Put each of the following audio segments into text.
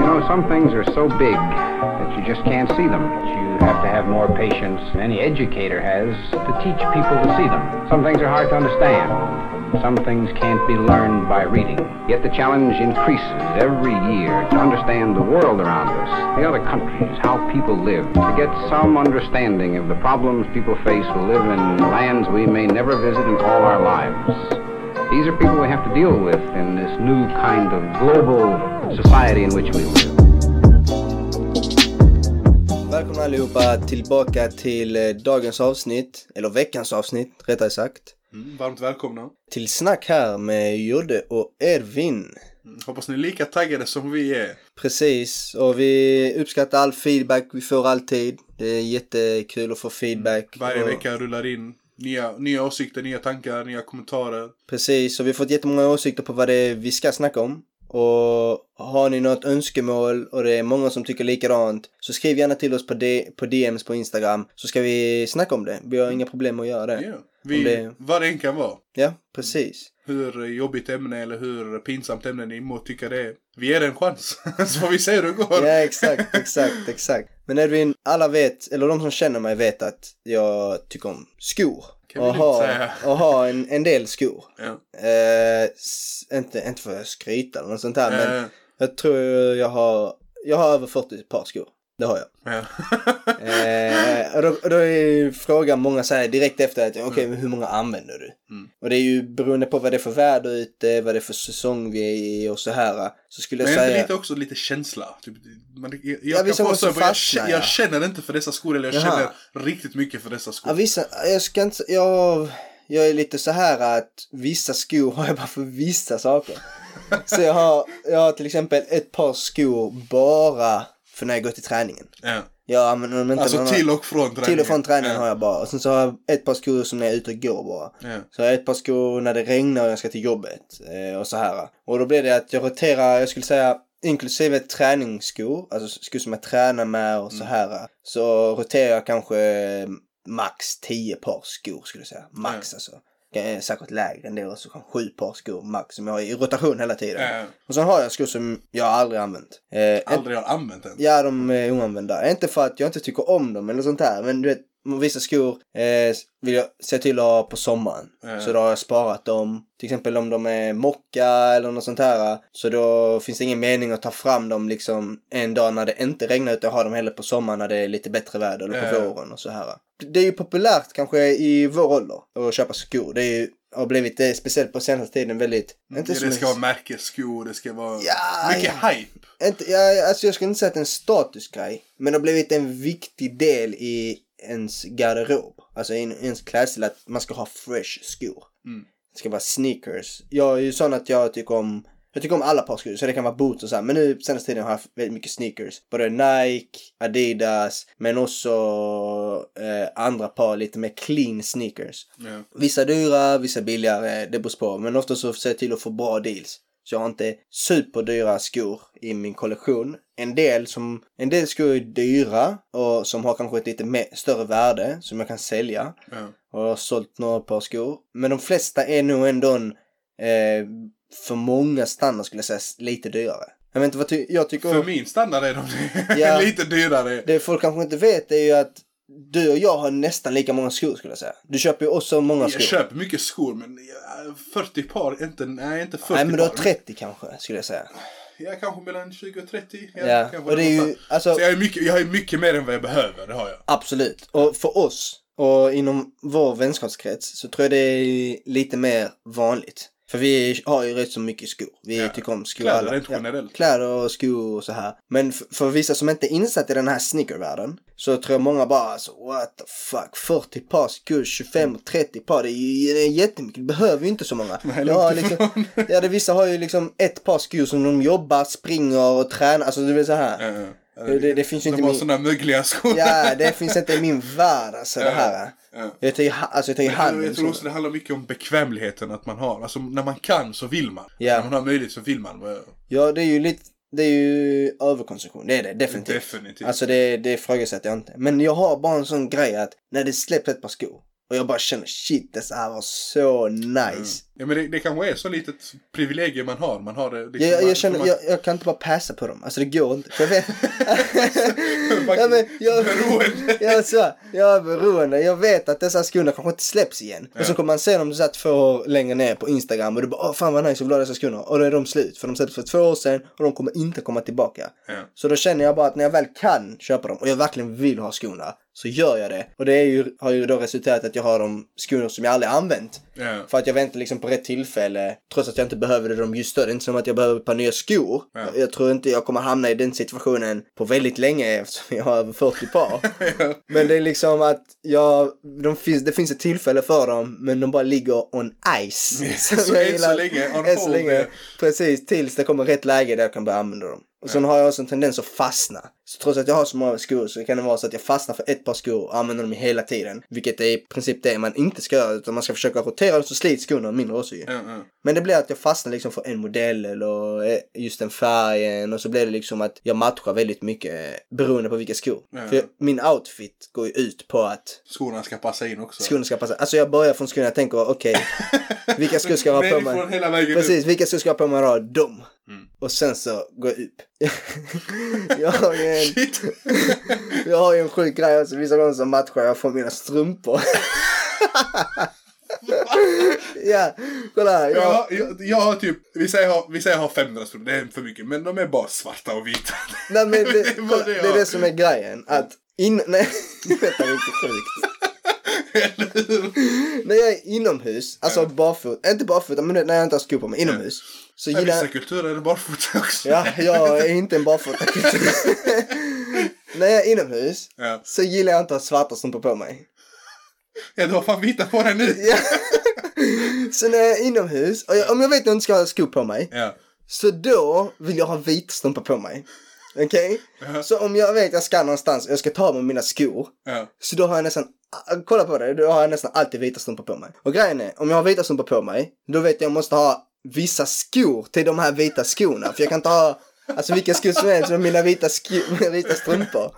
know, some things are so big that you just can't see them. You have to have more patience than any educator has to teach people to see them. Some things are hard to understand. Some things can't be learned by reading. Yet the challenge increases every year to understand the world around us, the other countries, how people live, to get some understanding of the problems people face who live in lands we may never visit in all our lives. These are people we have to deal with in this new kind of global society in which we live. Välkomna allihopa tillbaka till eh, dagens avsnitt, eller veckans avsnitt rättare sagt. Mm, varmt välkomna. Till snack här med Jodde och Edvin. Mm, Hoppas ni är lika taggade som vi är. Precis, och vi uppskattar all feedback vi får alltid. Det är jättekul att få feedback. Mm, Varje och, vecka rullar in nya, nya åsikter, nya tankar, nya kommentarer. Precis, och vi har fått jättemånga åsikter på vad det är vi ska snacka om. Och har ni något önskemål och det är många som tycker likadant så skriv gärna till oss på, D- på DMs på Instagram så ska vi snacka om det. Vi har inga problem att göra det. Ja, Vi, Om det- Vad det än kan vara. Ja, precis. Hur jobbigt ämne eller hur pinsamt ämne ni må tycka det är. Vi ger det en chans. Så får vi se hur det går. Ja, exakt, exakt, exakt. Men Edvin, alla vet, eller de som känner mig vet att jag tycker om skor. Kan vi Och lugnt ha, säga. och ha en, en del skor. Ja. Eh, s- inte, inte för att skryta eller något sånt där, men Eh, jag tror jag har, jag har över 40 par skor. Det har jag. ja. Eh, och då, och då är ju frågan många så här direkt efter att okej, men hur många använder du? Mm. Och det är ju beroende på vad det är för väder ute, vad det är för säsong vi är i och så här. Så skulle Men jag är inte säga... lite också lite känsla? Typ, man, jag jag Ja, kan vissa få måste så här, bara, jag, fastna, känner, ja. jag känner inte för dessa skor eller jag Jaha. känner riktigt mycket för dessa skor. Ja, vissa, jag ska inte, jag, jag är lite så här att vissa skor har jag bara för vissa saker. Så jag har, jag har till exempel ett par skor bara för när jag går till träningen. Ja. Jag använder dem inte Alltså någon- till och från träningen. till och från träningen Ja. har jag bara. Och sen så har jag ett par skor som när jag är ute och går bara. Ja. Så jag har ett par skor när det regnar och jag ska till jobbet. Eh, och så här. Och då blir det att jag roterar, jag skulle säga inklusive träningsskor, alltså skor som jag tränar med och så här. Så roterar jag kanske eh, max 10 par skor skulle jag säga. Max alltså. Eh, Säkert lägre än det också, kanske sju par skor max som jag har i rotation hela tiden. Ja. Och sen har jag skor som jag aldrig använt. Eh, ett- Eh, Aldrig har använt den. Ja, de är oanvända. Inte för att jag inte tycker om dem eller sånt där, men du vet, vissa skor eh, vill jag se till att ha på sommaren. Ja. Så då har jag sparat dem. Till exempel om de är mocka eller något sånt här. Så då finns det ingen mening att ta fram dem liksom en dag när det inte regnar utan jag har dem hellre på sommaren när det är lite bättre väder eller på Ja. våren och så här. Det är ju populärt kanske i vår ålder att köpa skor. Det är ju, har blivit det, speciellt på senaste tiden, väldigt... Ja, så Mm. det ska mycket- vara märkesskor, det ska vara Ja, mycket hype. inte, jag, alltså jag skulle inte säga att det är en statusgrej, men det har blivit en viktig del i ens garderob. Alltså i ens klädsel att man ska ha fresh skor. Mm. Det ska vara sneakers. Jag är ju sån att jag tycker om jag tycker om alla par skor, så det kan vara boots och så här. Men nu senaste tiden har jag haft väldigt mycket sneakers. Både Nike, Adidas, men också eh, andra par lite mer clean sneakers. Ja. Vissa dyra, vissa billigare, det beror på. Men ofta så ser jag till att få bra deals. Så jag har inte superdyra skor i min kollektion. En del, som, en del skor är dyra och som har kanske ett lite mer, större värde som jag kan sälja. Ja. Och jag har sålt några par skor. Men de flesta är nog ändå en, eh, för många standard skulle jag säga s- lite dyrare. Jag vet inte vad ty- jag tycker För min standard är de det. Ja. lite dyrare. det folk kanske inte vet är ju att du och jag har nästan lika många skor skulle jag säga. Du köper ju också många skor. Jag köper mycket skor men ja, 40 par, inte, nej inte 40 Nej men du har par. 30 kanske skulle jag säga. Ja, kanske mellan 20 och 30. Ja, Ja, kanske och det är ju, någonstans. alltså Så jag, är mycket, jag är mycket mer än vad jag behöver, det har jag. absolut. Och för oss och inom vår vänskapskrets så tror jag det är lite mer vanligt. För vi har ju rätt så mycket skor. Vi Ja, tycker om skor. kläder alla. rent generellt. kläder och skor och så här. Men f- för vissa som inte är insatt i den här sneakervärlden så tror jag många bara alltså what the fuck 40 par skor, 25 och 30 par det är ju det är jättemycket. Du behöver ju inte så många. Mm. Nej, Jag har långt liksom, ja, det, vissa har ju liksom ett par skor som de jobbar, springer och tränar. Alltså du vet så här. Ja, ja. Det- det- det finns ju inte De har min- sådana mögliga skor. Ja, det finns inte i min värld alltså det här. Ja. Jag tar ju, ha- alltså, jag tar ju hand om Jag tror sådana. också det handlar mycket om bekvämligheten att man har. Alltså när man kan så vill man. Ja. När man har möjlighet så vill man. Ja, det är ju lite, det är ju överkonsumtion. Det är det definitivt. Definitivt. Alltså det, det ifrågasätter jag inte. Men jag har bara en sån grej att när det släpps ett par skor. Och jag bara känner shit, det här var så nice. Ja, men det, det kanske är så litet privilegium man har. Man har det liksom, Jag, jag, man- jag känner, man- jag, jag kan inte bara passa på dem. Alltså det går inte. För jag vet... ja, Fucking men, jag, beroende. jag, så, här, jag är beroende. Jag vet att dessa skorna kanske inte släpps igen. Ja. Och så kommer man se dem så här två år längre ner på Instagram och du bara åh fan vad nice, jag vill ha dessa skorna. Och då är de slut. För de släpptes för två år sedan och de kommer inte komma tillbaka. Ja. Så då känner jag bara att när jag väl kan köpa dem och jag verkligen vill ha skorna så gör jag det. Och det är ju, har ju då resulterat att jag har de skor som jag aldrig har använt. Ja. För att jag väntar liksom på rätt tillfälle. Trots att jag inte behövde dem just då. Det är inte som att jag behöver ett par nya skor. Ja. Jag, jag tror inte jag kommer hamna i den situationen på väldigt länge eftersom jag har över 40 par. Men det är liksom att jag, de finns, det finns ett tillfälle för dem men de bara ligger on ice. Som så jag än så gillar. länge, on Än så hold, länge. ja. Precis, tills det kommer rätt läge där jag kan börja använda dem. Och sen har jag också en tendens att fastna. Så trots att jag har så många skor så kan det vara så att jag fastnar för ett par skor och använder dem hela tiden. Vilket är i princip det man inte ska göra utan man ska försöka rotera dem så slits skorna mindre också ju. Ja, ja. Men det blir att jag fastnar liksom för en modell eller eh, just den färgen och så blir det liksom att jag matchar väldigt mycket eh, beroende på vilka skor. Ja. För jag, min outfit går ju ut på att Skorna ska passa in också. skorna ska passa. Alltså jag börjar från skorna och tänker okej, vilka skor ska jag ha på mig? Nerifrån hela vägen upp. Precis, vilka skor ska jag ha på mig idag? Dem. Mm. Och sen så går jag upp. jag, har ju en, Shit. jag har ju en sjuk grej också. Vissa gånger så matchar jag från mina strumpor. ja, kolla här. Jag, Ja, jag, jag har typ, vi säger jag har, vi säger jag har 500 strumpor, det är för mycket. Men de är bara svarta och vita. Nej men det, är bara kolla, det jag är har. det som är grejen. Att in, nej, detta är riktigt sjukt. Eller hur? När jag är inomhus, alltså Ja. barfota, inte barfota men när jag inte har skor på mig, inomhus. Så I gillar vissa kulturer är det barfota också. Ja, jag är inte en barfota. När jag är inomhus Ja. så gillar jag inte att ha svarta strumpor på mig. Ja, du har fan vita på dig nu. Ja. Så när jag är inomhus, och jag, om jag vet att jag inte ska ha skor på mig, Ja. så då vill jag ha vita strumpor på mig. Okej? Ja. Så om jag vet att jag ska någonstans och jag ska ta med mina skor, Ja. så då har jag nästan, ah, kolla på det, då har jag nästan alltid vita strumpor på mig. Och grejen är, om jag har vita strumpor på mig, då vet jag att jag måste ha vissa skor till de här vita skorna. För jag kan inte ha, alltså vilka skor som helst med mina vita, sko- mina vita strumpor.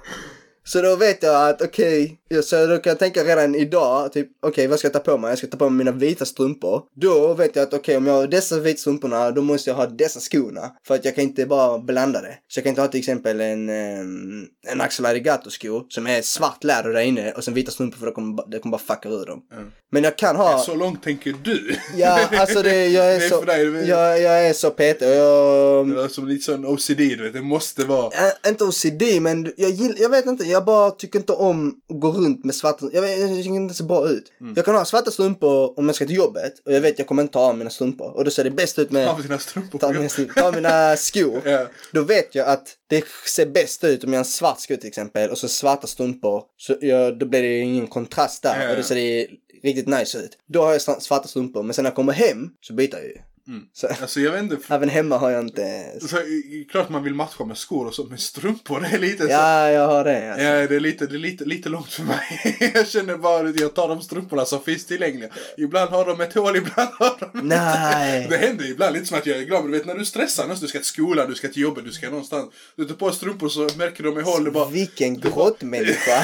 Så då vet jag att okej, så då kan jag tänka redan idag, typ okej vad ska jag ta på mig? Jag ska ta på mig mina vita strumpor. Då vet jag att okej om jag har dessa vita strumporna då måste jag ha dessa skorna. För att jag kan inte bara blanda det. Så jag kan inte ha till exempel en, ehm, en Axel Arigato-sko som är svart läder där inne och sen vita strumpor för det kommer, ba- det kommer bara fucka ur dem. Mm. Men jag kan ha... Så långt tänker du. Ja, alltså det, jag är det är så... för dig, det är- Jag, jag är så petig och jag... Det är som lite sån OCD, du vet. Det måste vara... Ä- inte OCD, men jag, gill, jag vet inte. Jag bara tycker inte om att gå runt med svarta Jag, vet, jag tycker inte det ser bra ut. Mm. Jag kan ha svarta strumpor om jag ska till jobbet och jag vet jag kommer inte ta av mina strumpor. Och då ser det bäst ut med Ta av dina strumpor. Eh, ta av mina, strumpor- ta av mina skor. Ja. Då vet jag att det ser bäst ut om jag har en svart sko till exempel och så svarta strumpor. Så jag, då blir det ju ingen kontrast där Ja, ja, och då ja. ser det riktigt nice ut. Då har jag sna- svarta strumpor men sen när jag kommer hem så byter jag ju. Mm. Så, Alltså jag vet inte. för- även hemma har jag inte... Så, i- i- klart man vill matcha med skor och så, men strumpor det är lite så. Ja, jag har det. Alltså. Ja, det är, lite, det är lite, lite långt för mig. Jag känner bara att jag tar de strumporna som finns tillgängliga. Ibland har de ett hål, ibland har de inte. Nej. Det händer ibland lite som att jag är glad. Men du vet när du stressar någonstans, du ska till skolan, du ska till jobbet, du ska någonstans. Du tar på strumpor så märker de i hål. Du bara, Vilken grottmänniska.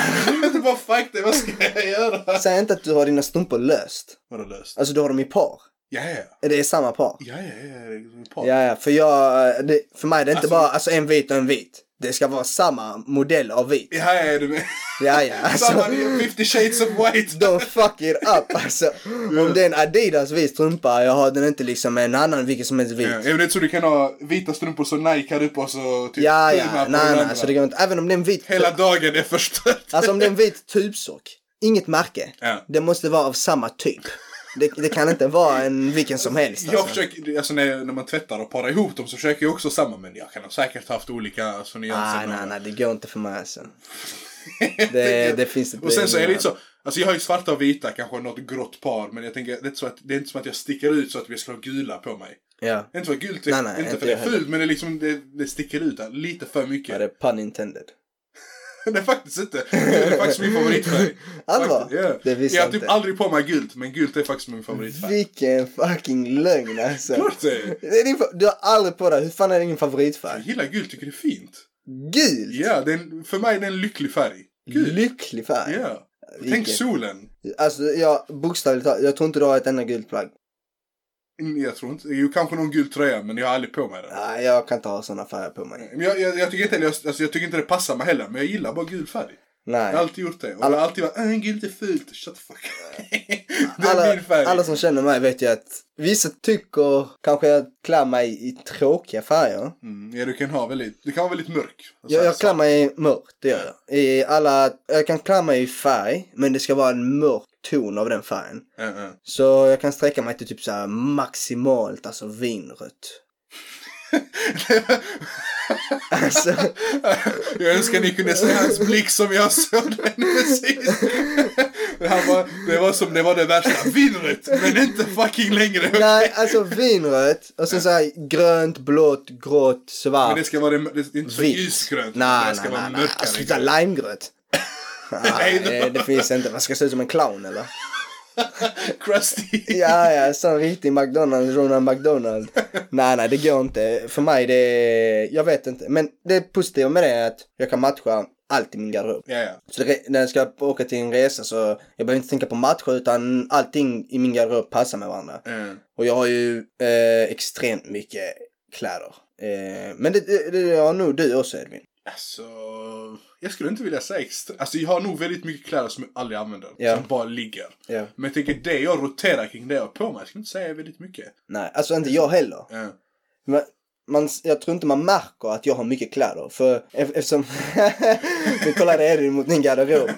du bara fuck det, vad ska jag göra? Säg inte att du har dina strumpor löst. Vadå löst? Alltså du har dem i par. Ja, ja, ja. Det är samma par. Ja, ja, ja, ja. det är ett par. Ja, ja, för jag, det, för mig är det inte Alltså- bara alltså, en vit och en vit. Det ska vara samma modell av vit. Ja, ja, du med. Ja, ja, Samma, alltså. det är 50 shades of white. Don't fuck it up alltså. Om det är en Adidas vit strumpa, jag har den inte liksom en annan vilken som helst vit. Ja, jag vet så du kan ha vita strumpor som Nike här uppe och så typ Ja, Puma ja, på den nej, nej, andra. alltså det går inte. Även om det är en vit, Hela dagen är förstörd. alltså om det är en vit tubsock, inget märke. Ja. Det måste vara av samma typ. Det, det kan inte vara en vilken som helst. Jag försöker, alltså när, när man tvättar och parar ihop dem så försöker jag också samma men jag kan ha säkert haft olika alltså, Ah, nyanser. nej, nej, det går inte för mig alltså. Det, det finns inte. Och sen så är det inte så, alltså jag har ju svarta och vita, kanske något grått par men jag tänker, det är inte, så att, det är inte som att jag sticker ut så att jag ska ha gula på mig. Ja. Det är inte så att gult, Nej, nej, inte inte för det jag är fult men det, är liksom, det, det sticker ut där, lite för mycket. Var det pun intended? det är faktiskt inte, det är faktiskt min favoritfärg. Allvar? Faktiskt, ja. Det visste jag har jag typ inte. aldrig på mig gult men gult är faktiskt min favoritfärg. Vilken fucking lögn alltså. Klart det är. Det är din, fa- du har aldrig på dig, hur fan är det ingen Jag favoritfärg? gillar gult, tycker det är fint. Gult? Ja, det är en, för mig är det en lycklig färg. Gul. Lycklig färg? Ja. Tänk viken. solen! Alltså, jag, bokstavligt talat, jag tror inte du har ett enda gult plagg. Mm, Jag tror inte. Jo, kanske någon gul tröja, men jag har aldrig på mig den. Nej, jag kan inte ha såna färger på mig. Men jag, jag, jag, tycker inte, heller- jag, alltså, jag tycker inte det passar mig heller, men jag gillar bara gul färg. Jag har Nej. alltid gjort det. Och jag har alltid varit, äh, gult är fult. Shut the fuck up. Det är min Alla, färg. alla som känner mig vet ju att vissa tycker kanske jag klär mig i tråkiga färger. Mm, ja, du kan ha väldigt, du kan vara väldigt mörk. Alltså, Jag, jag alltså, klär mig i mörkt, det gör jag. I alla, jag kan klä mig i färg, men det ska vara en mörk ton av den färgen. äh, äh. Så jag kan sträcka mig till typ så här maximalt, alltså vinrött. Alltså, jag önskar ni kunde se hans blick som jag såg den precis. Han var, det var som det var det värsta. Vinrött, men inte fucking längre. nej, alltså vinrött och sen så här grönt, blått, grått, Men svart, det ska vara det, det är inte så vitt. ljusgrönt. Nej, det ska nej, vara nej, nej. mörkare. Alltså, Sluta limegröt. Nej, det- det, det finns inte. Man ska se ut som en clown eller? Krusty. Ja, ja, sån riktig McDonalds, Ronald McDonald. Nej, nej, det går inte. För mig, det är, jag vet inte. Men det positiva med det är att jag kan matcha allt i min garderob. Ja, ja. Så det, när jag ska åka till en resa så jag behöver inte tänka på matcher utan allting i min garderob passar med varandra. Mm. Och jag har ju eh, extremt mycket kläder. Eh, men det, det, det har nog du också Edvin. Alltså, jag skulle inte vilja säga extra. Alltså jag har nog väldigt mycket kläder som jag aldrig använder. Ja. Som bara ligger. Ja. Men jag tänker det jag roterar kring det jag har på mig. Jag skulle inte säga väldigt mycket. Eh, Nej, alltså inte jag heller. Ja. Men man, jag tror inte man märker att jag har mycket kläder. För eff- eftersom... nu kollade Edvin mot din garderob.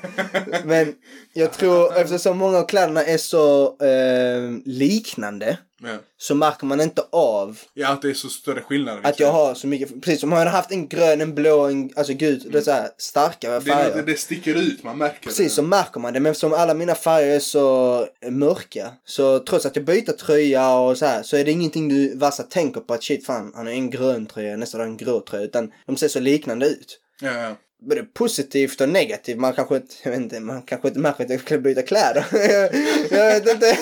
Men jag tror eftersom många av kläderna är så eh, liknande. Ja. Så märker man inte av ja, att det är så större liksom. skillnader. att jag har så mycket. Precis som har jag haft en grön, en blå, en alltså gud. Det är så här starkare det, är något- det, färger. det sticker ut, man märker Precis, det. så märker man det. Men eftersom alla mina färger är så mörka. Så trots att jag byter tröja och så här. Så är det ingenting du Vassa tänker på att shit fan, han har en grön tröja, nästa dag en grå tröja. Utan de ser så liknande ut. Ja, ja. Både positivt och negativt. Man kanske inte, jag vet inte, man kanske inte märker att jag skulle byta kläder. jag vet inte.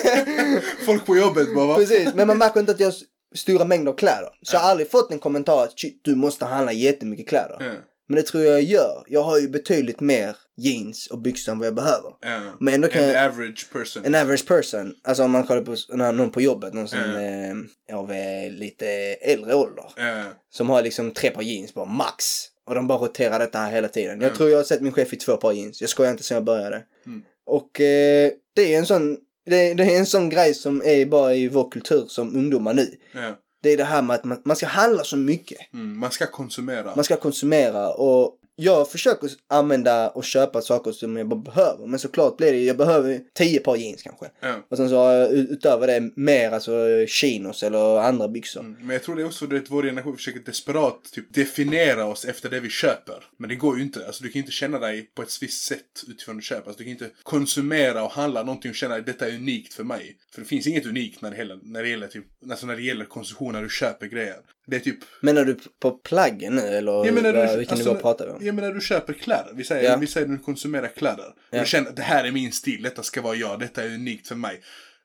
Folk på jobbet bara va? Precis, men man märker inte att jag har s- stora mängder kläder. Så jag har aldrig fått en kommentar att shit, du måste handla jättemycket kläder. Ja, Men det tror jag jag gör. Jag har ju betydligt mer jeans och byxor än vad jag behöver. ja. Men ändå kan An jag... average person. En average person, alltså om man kollar på s- nå- någon på jobbet, någon som Ja. eh, är av eh, lite äldre ålder. Ja. Som har liksom tre par jeans bara max. Och de bara roterar detta här hela tiden. Jag tror jag har sett min chef i två par jeans. Jag skojar inte sen jag började. Mm. Och eh, det är en sån... Det, det är en sån grej som är bara i vår kultur som ungdomar nu. ja. Det är det här med att man, man ska handla så mycket. Mm, man ska konsumera. Man ska konsumera och jag försöker använda och köpa saker som jag bara behöver. Men såklart blir det, jag behöver 10 par jeans kanske. Ja. Och sen så har jag ut- utöver det mer alltså chinos eller andra byxor. Mm. Men jag tror det är också att vår generation försöker desperat typ, definiera oss efter det vi köper. Men det går ju inte. Alltså, du kan ju inte känna dig på ett visst sätt utifrån det du köper. Alltså, du kan ju inte konsumera och handla någonting och känna att detta är unikt för mig. För det finns inget unikt när det gäller, när det gäller, typ, alltså, när det gäller konsumtion, när du köper grejer. Det är typ... Menar du på plaggen nu eller Jag menar, vad, du, vilken alltså, nivå pratar vi om? Jag menar, du köper kläder. Vi säger, Ja. vi säger att du konsumerar kläder. Ja. Och du känner att det här är min stil, detta ska vara jag, detta är unikt för mig.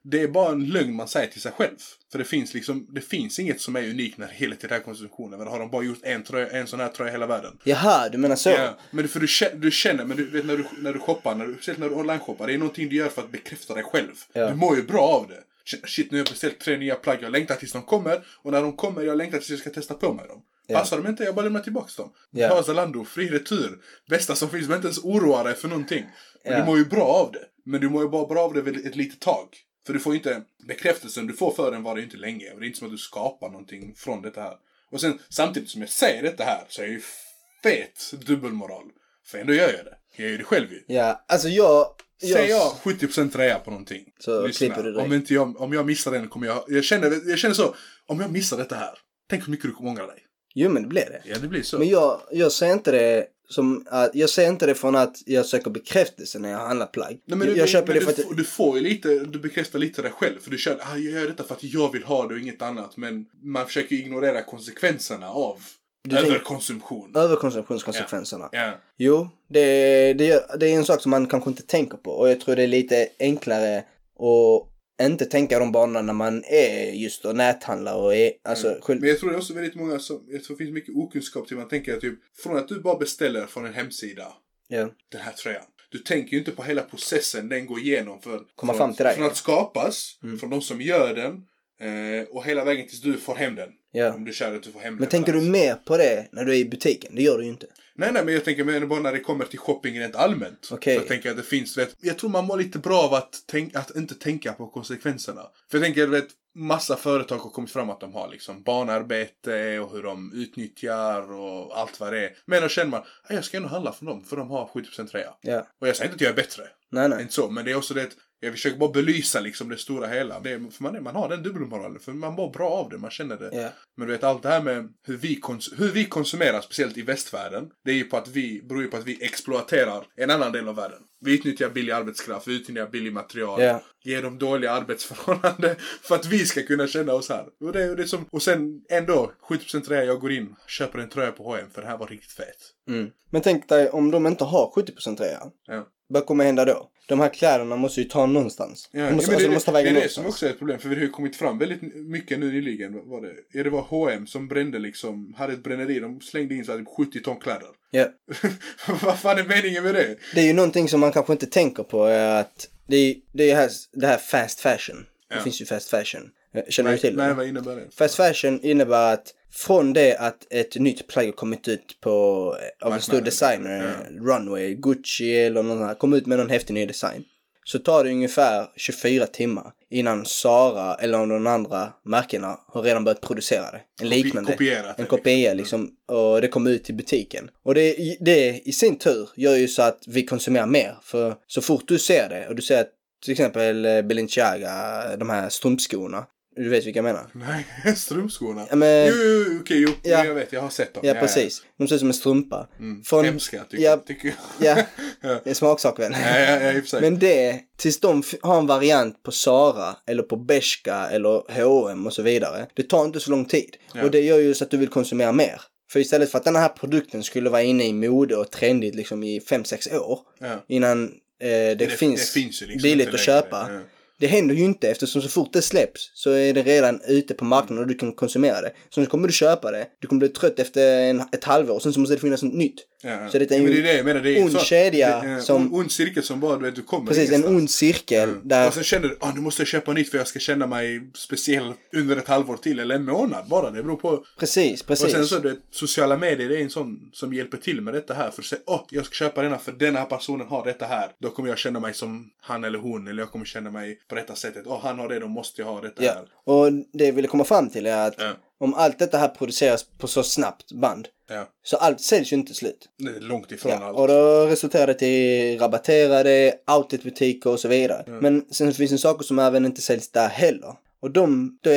Det är bara en lögn man säger till sig själv. För det finns liksom, det finns inget som är unikt när det gäller till den här konsumtionen. Men har de bara gjort en, tröja, en sån här tröja i hela världen? Jaha, du menar så? Ja, men du- för du känner, du känner men du vet när du, när du shoppar, när du, speciellt när du online-shoppar, det är någonting du gör för att bekräfta dig själv. Ja. Du mår ju bra av det. Shit, Shit, nu har jag beställt tre nya plagg, jag längtar tills de kommer. Och när de kommer, jag längtar tills jag ska testa på mig dem. Ja. Passar de inte, jag bara lämnar tillbaks dem. Ja. Ta Zalando, fri retur. Bästa som finns, men inte ens oroa dig för någonting. Men Ja. du mår ju bra av det. Men du mår ju bara bra av det väl ett litet tag. För du får ju inte, bekräftelsen du får för den var det ju inte länge. Och det är inte som att du skapar någonting från detta här. Och sen samtidigt som jag säger detta här så är jag ju fet dubbelmoral. För ändå gör jag det. Jag gör det själv ju. Ja, alltså jag... jag Säger jag 70% rea på någonting. Så klipper du direkt. om, inte jag, om jag missar den kommer jag... Jag känner, jag känner så. Om jag missar detta här. Tänk hur mycket du kommer ångra dig. Jo men det blir det. Ja, det blir så. Men jag, jag ser inte det som att, jag ser inte det från att jag söker bekräftelse när jag handlar plagg. Nej, men jag, du, jag köper men det för du, att... får- du får ju lite, du bekräftar lite dig själv. För du känner, ah, jag gör detta för att jag vill ha det och inget annat. Men man försöker ju ignorera konsekvenserna av Du tänker- överkonsumtion. Överkonsumtionskonsekvenserna. Ja. Jo, det, det, gör- det är en sak som man kanske inte tänker på och jag tror det är lite enklare att inte tänka de banorna när man är just och näthandlar och är, alltså, Mm. själv, Men jag tror det är också väldigt många som, jag tror det finns mycket okunskap till man tänker typ, från att du bara beställer från en hemsida, ja, den här tröjan. Du tänker ju inte på hela processen den går igenom. För, Komma från, fram till dig. Från att skapas, Mm. från de som gör den. Eh, och hela vägen tills du får hem den. Ja. Om du kör att du får hem Men den. tänker du mer på det när du är i butiken? Det gör du ju inte. Nej, nej, men jag tänker mer bara när det kommer till shopping rent allmänt. Okej. Så jag tänker att det finns, vet, jag tror man mår lite bra av att, tänk, att inte tänka på konsekvenserna. För jag tänker, vet, massa företag har kommit fram att de har liksom barnarbete och hur de utnyttjar och allt vad det är. Men då känner man, "Nej, jag ska ändå handla från dem, för de har 70% rea. Ja. Och jag säger inte att jag är bättre, Nej, nej. inte så, men det är också det att jag försöker bara belysa liksom det stora hela. Det är, för man, är, man har den dubbelmoralen, för man mår bra av det, man känner det. Ja. Men du vet allt det här med hur vi, kons- hur vi konsumerar, speciellt i västvärlden, det är ju på att vi, beror ju på att vi exploaterar en annan del av världen. Vi utnyttjar billig arbetskraft, vi utnyttjar billig material, Ja. ger dem dåliga arbetsförhållanden för att vi ska kunna känna oss här. Och, det, och, det är som, och sen ändå, 70% rea, jag går in, köper en tröja på H&M för det här var riktigt fett. Mm. Men tänk dig om de inte har 70% rea. Ja. Vad kommer hända då? De här kläderna måste ju ta någonstans. Ja, de måste, ja, alltså, men det, de måste ta det, vägen det är det som någonstans. också är ett problem, för det har ju kommit fram väldigt mycket nu nyligen. vad Var det? Ja, det var H&M som brände liksom, hade ett bränneri, de slängde in så här typ 70 ton kläder. Ja. Vad fan är meningen med det? Det är ju någonting som man kanske inte tänker på är att det är, det är här, det här fast fashion. Det Ja. finns ju fast fashion. Eh, Känner du Nej, till det? nej, vad innebär det? Fast fashion innebär att från det att ett nytt plagg har kommit ut på, eh, av en stor Marknaden. designer, runway, Gucci eller någon annan, kom ut med någon häftig ny design. Så tar det ungefär 24 timmar innan Zara eller någon andra märkena har redan börjat producera det. En liknande. kopierat En det, kopia liksom. Och det kommer ut till butiken. Och det, det i sin tur gör ju så att vi konsumerar mer. För så fort du ser det och du ser att till exempel eh, Balenciaga, de här strumpskorna. Du vet vilka jag menar? Nej, strumpskorna. Ja, men- Jo, jo, jo, okej, jo. Ja. Jag vet, jag har sett dem. Ja, precis. De ser ut som en strumpa. Mm. Från- Hemska, tycker, Ja. tycker jag. Ja, ja. det är smaksak väl. Ja, ja, ja, i och för sig. Men det, tills de f- har en variant på Zara eller på Bershka eller H&M och så vidare. Det tar inte så lång tid. Ja. Och det gör ju så att du vill konsumera mer. För istället för att den här produkten skulle vara inne i mode och trendigt liksom i 5-6 år ja. innan eh, det, finns det finns ju liksom billigt inte att längre. köpa. Ja. Det händer ju inte eftersom så fort det släpps så är det redan ute på marknaden och du kan konsumera det. Så nu kommer du köpa det, du kommer bli trött efter en, ett halvår, sen så måste det finnas något nytt. Ja. Så det är Ja, ju men det är det jag menar. Det är ond så- kedja det är en som- Ond cirkel som bara, du vet, du kommer Precis, en ingenstans. ond cirkel där... Och sen känner du, ah, nu måste jag köpa nytt för jag ska känna mig speciell under ett halvår till, eller en månad bara. Det beror på. Precis, Och precis. sen så, det, sociala medier det är en sån som hjälper till med detta här. För att säga, åh, jag ska köpa denna för den här personen har detta här. Då kommer jag känna mig som han eller hon, eller jag kommer känna mig på detta sättet. Åh, han har det, då måste jag ha detta ja. här. Och det jag ville komma fram till är att Ja. om allt detta här produceras på så snabbt band Ja. så allt säljs ju inte till slut. Det är långt ifrån Ja. allt. Och då resulterar det till rabatterade, outletbutiker och så vidare. Men sen finns det saker som även inte säljs där heller. Och de, det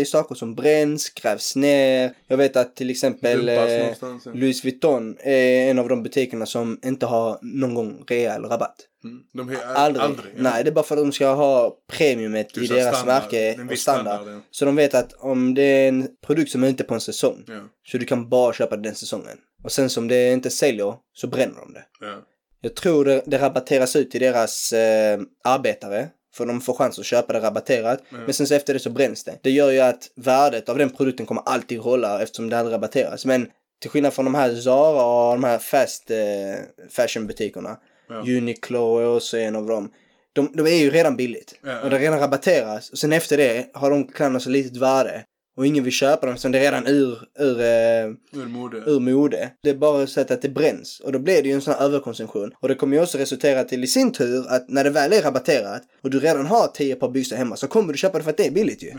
är saker som bränns, grävs ner. Jag vet att till exempel Dumpas eh, någonstans, ja. Louis Vuitton är en av de butikerna som inte har någon gång rea eller rabatt. Mm. De är, Aldrig. aldrig ja. Nej, det är bara för att de ska ha premiumet Du i sa deras standard, märke en och viss standard. standard, ja. Så de vet att om det är en produkt som är ute på en säsong Ja. så du kan bara köpa den säsongen. Och sen som det inte säljer så bränner de det. Ja. Jag tror det, det rabatteras ut till deras eh, arbetare. För de får chans att köpa det rabatterat. Mm. Men sen så efter det så bränns det. Det gör ju att värdet av den produkten kommer alltid hålla eftersom det aldrig rabatteras. Men till skillnad från de här Zara och de här fast eh, fashionbutikerna. Ja. Uniqlo är också en av dem. De, de är ju redan billigt. Ja. Och det redan rabatteras. Och sen efter det har de kläderna så litet värde. Och ingen vill köpa dem eftersom det är redan ur, ur eh, Ur mode. ur mode. Det är bara så att det bränns. Och då blir det ju en sån här överkonsumtion. Och det kommer ju också resultera till i sin tur att när det väl är rabatterat och du redan har 10 par byxor hemma så kommer du köpa det för att det är billigt ju. Ja.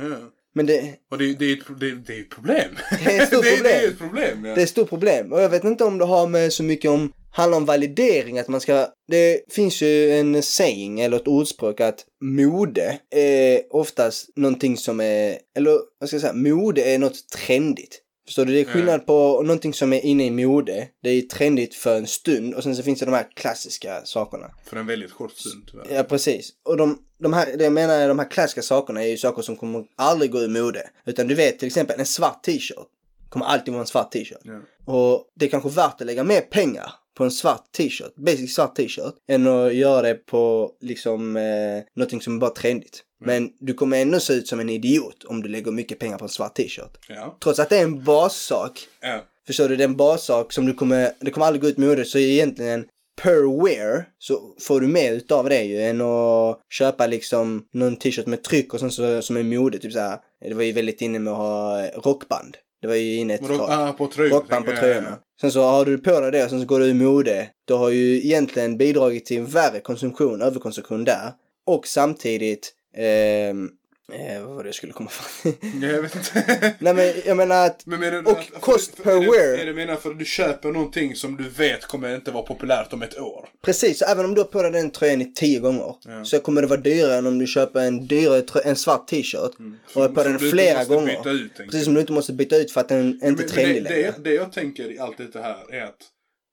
Men det, Och det, det, är ett, pro- det, det är ett problem. Det är ett stort det, det problem. är ett problem, ja. det är ett stort problem. Och jag vet inte om det har med så mycket om handlar om validering, att man ska... Det finns ju en saying, eller ett ordspråk, att mode är oftast någonting som är... Eller vad ska jag säga? Mode är något trendigt. Förstår du? Det är skillnad på någonting som är inne i mode, det är trendigt för en stund, och sen så finns det de här klassiska sakerna. För en väldigt kort stund, tyvärr. Ja, precis. Och de, de här, det jag menar är de här klassiska sakerna är ju saker som kommer aldrig gå ur mode. Utan du vet till exempel en svart t-shirt kommer alltid vara en svart t-shirt. Ja. Och det är kanske värt att lägga mer pengar på en svart t-shirt, basic svart t-shirt, än att göra det på liksom eh, någonting som är bara trendigt. Men du kommer ändå se ut som en idiot om du lägger mycket pengar på en svart t-shirt. Ja. Trots att det är en bassak Ja. Förstår du? Det är en bassak som du kommer, det kommer aldrig gå ut mode. Så egentligen per wear så får du mer utav det ju än att köpa liksom någon t-shirt med tryck och sånt så, som är mode. Typ så här. Det var ju väldigt inne med att ha rockband. Det var ju inne ett Rock, ah, på tröjor. rockband på tänker jag. tröjorna. Sen så har du på dig det och sen så går du ur mode. Du har ju egentligen bidragit till en värre konsumtion, överkonsumtion där. Och samtidigt, ehm, eh, vad var det jag skulle komma fram till? Ja, Jag vet inte. Nej men jag menar att, Men menar du Och för- cost för- per är det- wear. Är det menar för att du köper någonting som du vet kommer inte vara populärt om ett år? precis, så även om du har på dig den tröjan i tio gånger Ja. så kommer det vara dyrare än om du köper en dyrare trö- en svart t-shirt och har Som- Mm. på som den du inte flera måste gånger. byta ut, Mm, tänker precis som du inte måste byta ut för att den inte är Men- men trendig det, det, längre. det jag tänker i allt det här är att,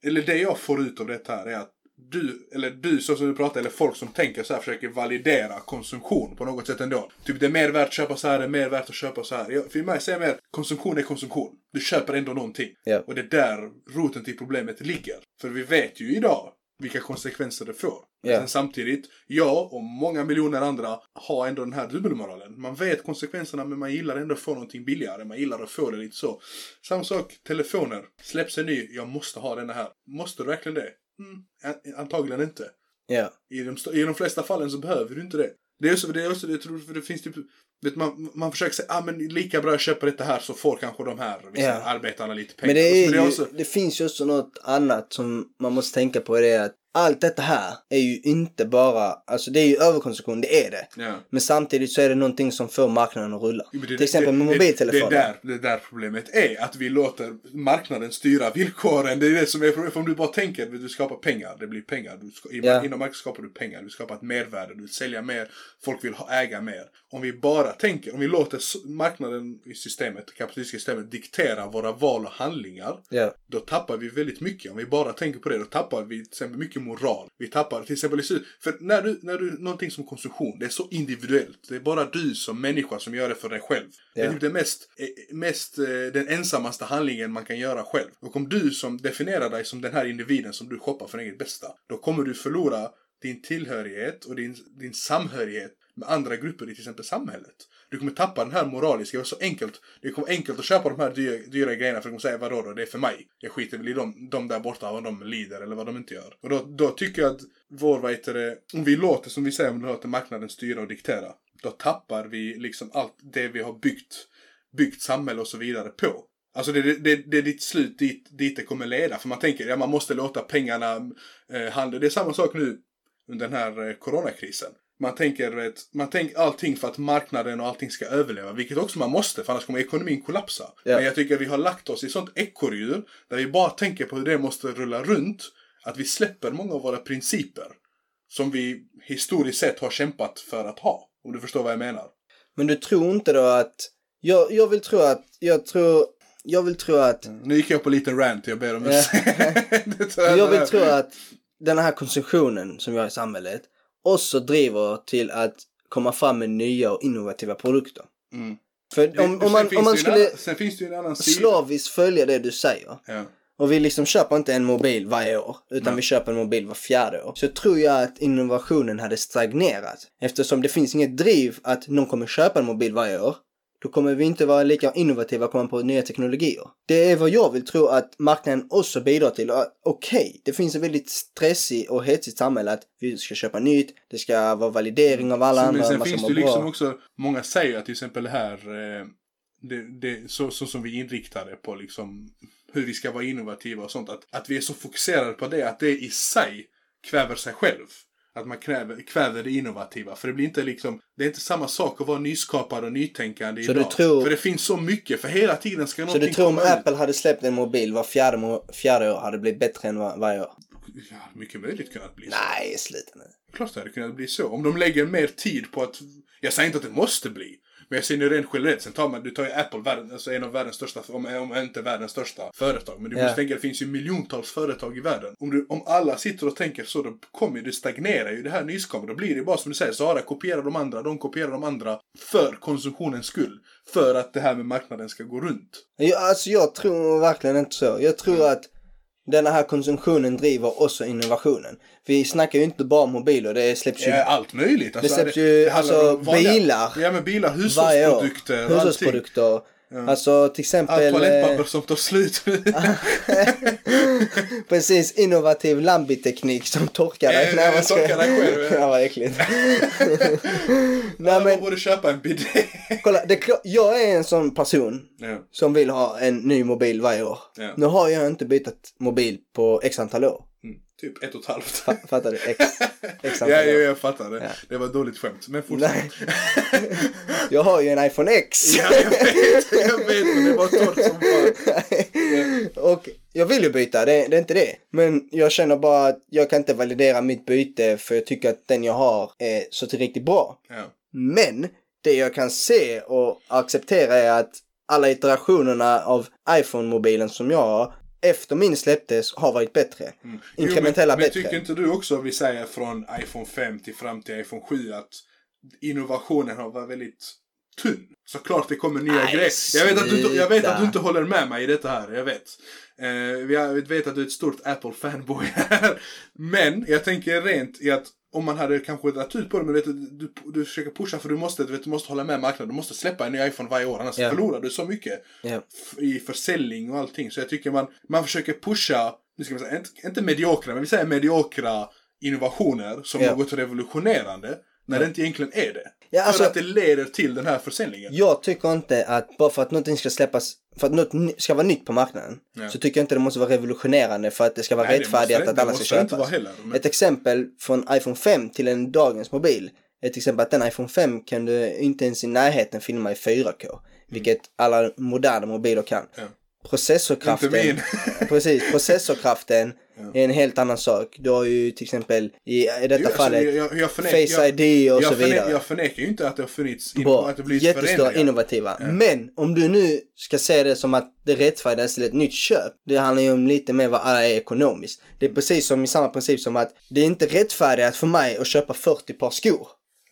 eller det jag får ut av det här är att du, eller du så som du pratar, eller folk som tänker så här försöker validera konsumtion på något sätt ändå. Typ det är mer värt att köpa så här, det är mer värt att köpa så här. Jag, för mig säger mer, konsumtion är konsumtion. Du köper ändå någonting. Ja. Och det är där roten till problemet ligger. För vi vet ju idag vilka konsekvenser det får. Ja. Sen samtidigt, jag och många miljoner andra har ändå den här dubbelmoralen. Man vet konsekvenserna men man gillar ändå att få någonting billigare. Man gillar att få det lite så. Samma sak, telefoner. Släpps en ny, jag måste ha den här. Måste du verkligen det? Mm, a- antagligen inte. Ja. I de, st- I de flesta fallen så behöver du inte det. Det är också, det är också jag tror, för det finns typ, vet man, man försöker säga, ah men lika bra jag köper detta här så får kanske de här, vissa Ja. arbetarna lite pengar. Alltså, Men det, är Men ju, också- det finns ju också något annat som man måste tänka på. Det är att allt detta här är ju inte bara, alltså det är ju överkonsumtion, det är det. Ja. Men samtidigt så är det någonting som får marknaden att rulla. Jo, men det- Till exempel med det- mobiltelefoner. Det, det, är där, det är där problemet är. Att vi låter marknaden styra villkoren. Det är det som är problemet. För om du bara tänker att du skapar pengar, det blir pengar. Du ska, Ja. Inom marknaden skapar du pengar, du skapar ett mervärde, du vill sälja mer, folk vill ha, äga mer. Om vi bara tänker, om vi låter s- marknaden i systemet, det kapitalistiska systemet, diktera våra val och handlingar. Ja. Då tappar vi väldigt mycket. Om vi bara tänker på det, då tappar vi till exempel mycket moral. Vi tappar till exempel i slut. För när du, när du, någonting som konsumtion, det är så individuellt. Det är bara du som människa som gör det för dig själv. Det är Ja. typ den mest, eh, mest, eh, den ensammaste handlingen man kan göra själv. Och om du som definierar dig som den här individen som du shoppar för eget bästa, då kommer du förlora din tillhörighet och din, din samhörighet med andra grupper i till exempel samhället. Du kommer tappa den här moraliska, det var så enkelt. Det kommer vara enkelt att köpa de här dyra, dyra grejerna för de kommer säga vadå då, det är för mig. Jag skiter väl i dem, de där borta, vad de lider eller vad de inte gör. Och då, då tycker jag att vår, vad heter det, om vi låter som vi säger, om vi låter marknaden styra och diktera. Då tappar vi liksom allt det vi har byggt, byggt samhälle och så vidare på. Alltså det, det, det, det är ditt slut dit, dit det kommer leda. För man tänker, ja man måste låta pengarna eh, handla. Det är samma sak nu under den här eh, coronakrisen. Man tänker, du vet, man tänker allting för att marknaden och allting ska överleva, vilket också man måste, för annars kommer ekonomin kollapsa. Ja. Men jag tycker vi har lagt oss i sånt ekorrhjul, där vi bara tänker på hur det måste rulla runt, att vi släpper många av våra principer, som vi historiskt sett har kämpat för att ha. Om du förstår vad jag menar. Men du tror inte då att... Jag, jag vill tro att... Jag tror... Jag vill tro att... Nu gick jag på lite rant, jag ber om Ja. ursäkt. Det tror Jag vill det- tro att den här konsumtionen som vi har i samhället också driver till att komma fram med nya och innovativa produkter. Mm. För om, Sen om man, finns om man det ju en skulle annan- Sen finns det ju en annan sida. slaviskt följa det du säger Ja. och vi liksom köper inte en mobil varje år utan Nej. vi köper en mobil var fjärde år. Så tror jag att innovationen hade stagnerat eftersom det finns inget driv att någon kommer köpa en mobil varje år. Då kommer vi inte vara lika innovativa och komma på nya teknologier. Det är vad jag vill tro att marknaden också bidrar till. Och att, Okej, det finns en väldigt stressig och hetsigt samhälle att vi ska köpa nytt, det ska vara validering av alla Sen, andra, men sen man ska finns må det ju liksom bra. också, många säger att till exempel det här, eh, det, det, så, så som vi är inriktade på liksom hur vi ska vara innovativa och sånt, att, att vi är så fokuserade på det, att det i sig kväver sig själv. Att man kräver, kväver det innovativa. För det blir inte liksom, det är inte samma sak att vara nyskapad och nytänkande Så idag. du tror- För det finns så mycket, för hela tiden ska Så någonting du tror om komma ut. Apple hade släppt en mobil var fjärde, mo- fjärde år hade det blivit bättre än var, varje år? Ja, mycket möjligt kunnat bli så. Nej, sluta nu. Klart det hade kunnat bli så. Om de lägger mer tid på att... Jag säger inte att det måste bli. Men jag ser nu rent generellt. Sen tar man, du tar ju Apple, världen, alltså en av världens största, om, om inte världens största företag. Men du Ja. måste tänka, det finns ju miljontals företag i världen. Om, du, om alla sitter och tänker så, då kommer ju, det stagnerar ju det här nyskapande. Då blir det bara som du säger, Zara kopierar de andra, de kopierar de andra. För konsumtionens skull. För att det här med marknaden ska gå runt. Jag, alltså jag tror verkligen inte så. Jag tror Mm. att den här konsumtionen driver också innovationen. Vi snackar ju inte bara om mobiler, det släpps ju... Ja, Eh, allt möjligt. Det släpps ju, handlar alltså, om vanliga- bilar Ja men bilar, varje år. hushållsprodukter. och allting. Hushållsprodukter. Ja. Alltså till exempel... Allt toalettpapper eh, som tar slut. Precis, innovativ lambiteknik som torkar dig. Eh, Nej, vad ska- torkar dig själv, eh. Ja, vad äckligt. Nej, Man men borde köpa en bidé. kolla, det är klart, jag är en sån person ja. som vill ha en ny mobil varje år. Ja. Nu har jag inte bytt mobil på x antal år. Mm. Typ ett och ett halvt. Fa- Fattar du? X, x Ja, antal ja, år. jag fattar det. Ja. Det var ett dåligt skämt. Men fortsätt. Jag har ju en iPhone X. ja, jag vet, jag vet, men det var torrt som fan. och jag vill ju byta, det, det är inte det. Men jag känner bara att jag kan inte validera mitt byte för jag tycker att den jag har är så till riktigt bra. Ja. Men det jag kan se och acceptera är att alla iterationerna av iPhone-mobilen som jag har efter min släpptes har varit bättre. Mm. Jo, Inkrementella men, men bättre. tycker inte du också, vi säger från iPhone 5 till fram till iPhone 7, att innovationen har varit väldigt tunn? Såklart det kommer nya Nej, grejer. Jag vet, att du, inte- jag vet sluta. att du inte håller med mig i detta här, jag vet. Eh, jag vet att du är ett stort Apple-fanboy här. Men jag tänker rent i att om man hade kanske dragit ut på det, men vet, du, du, du försöker pusha för du måste, du, vet, du måste hålla med marknaden. Du måste släppa en ny iPhone varje år, annars Ja. förlorar du så mycket Ja. f- i försäljning och allting. Så jag tycker man, man försöker pusha, nu ska man säga, inte, inte mediokra, men vi säger mediokra innovationer som Ja. något revolutionerande. När det inte egentligen är det. Ja, alltså- för att det leder till den här försäljningen. Jag tycker inte att bara för att någonting ska släppas, för att något ny- ska vara nytt på marknaden, Ja. så tycker jag inte det måste vara revolutionerande för att det ska vara Nej, det rättfärdigat måste- att det alla ska måste det inte köpas. vara heller, men- Ett exempel från iPhone 5 till en dagens mobil är till exempel att den iPhone 5 kan du inte ens i närheten filma i 4K, vilket alla moderna mobiler kan. Mm. Ja. Processorkraften, Inte min. precis, processorkraften är en helt annan sak. Du har ju till exempel i, i detta Jo, alltså, fallet jag- jag- jag förnek- Face jag- ID och jag så förne- vidare Jag förnekar ju inte att det har funnits, in- bra, att det blivit jättestora, förändringar. innovativa. Men om du nu ska se det som att det rättfärdigas till ett nytt köp, det handlar ju om lite mer vad alla är ekonomiskt. Det är precis som i samma princip som att det är inte rättfärdigt för mig att köpa 40 par skor.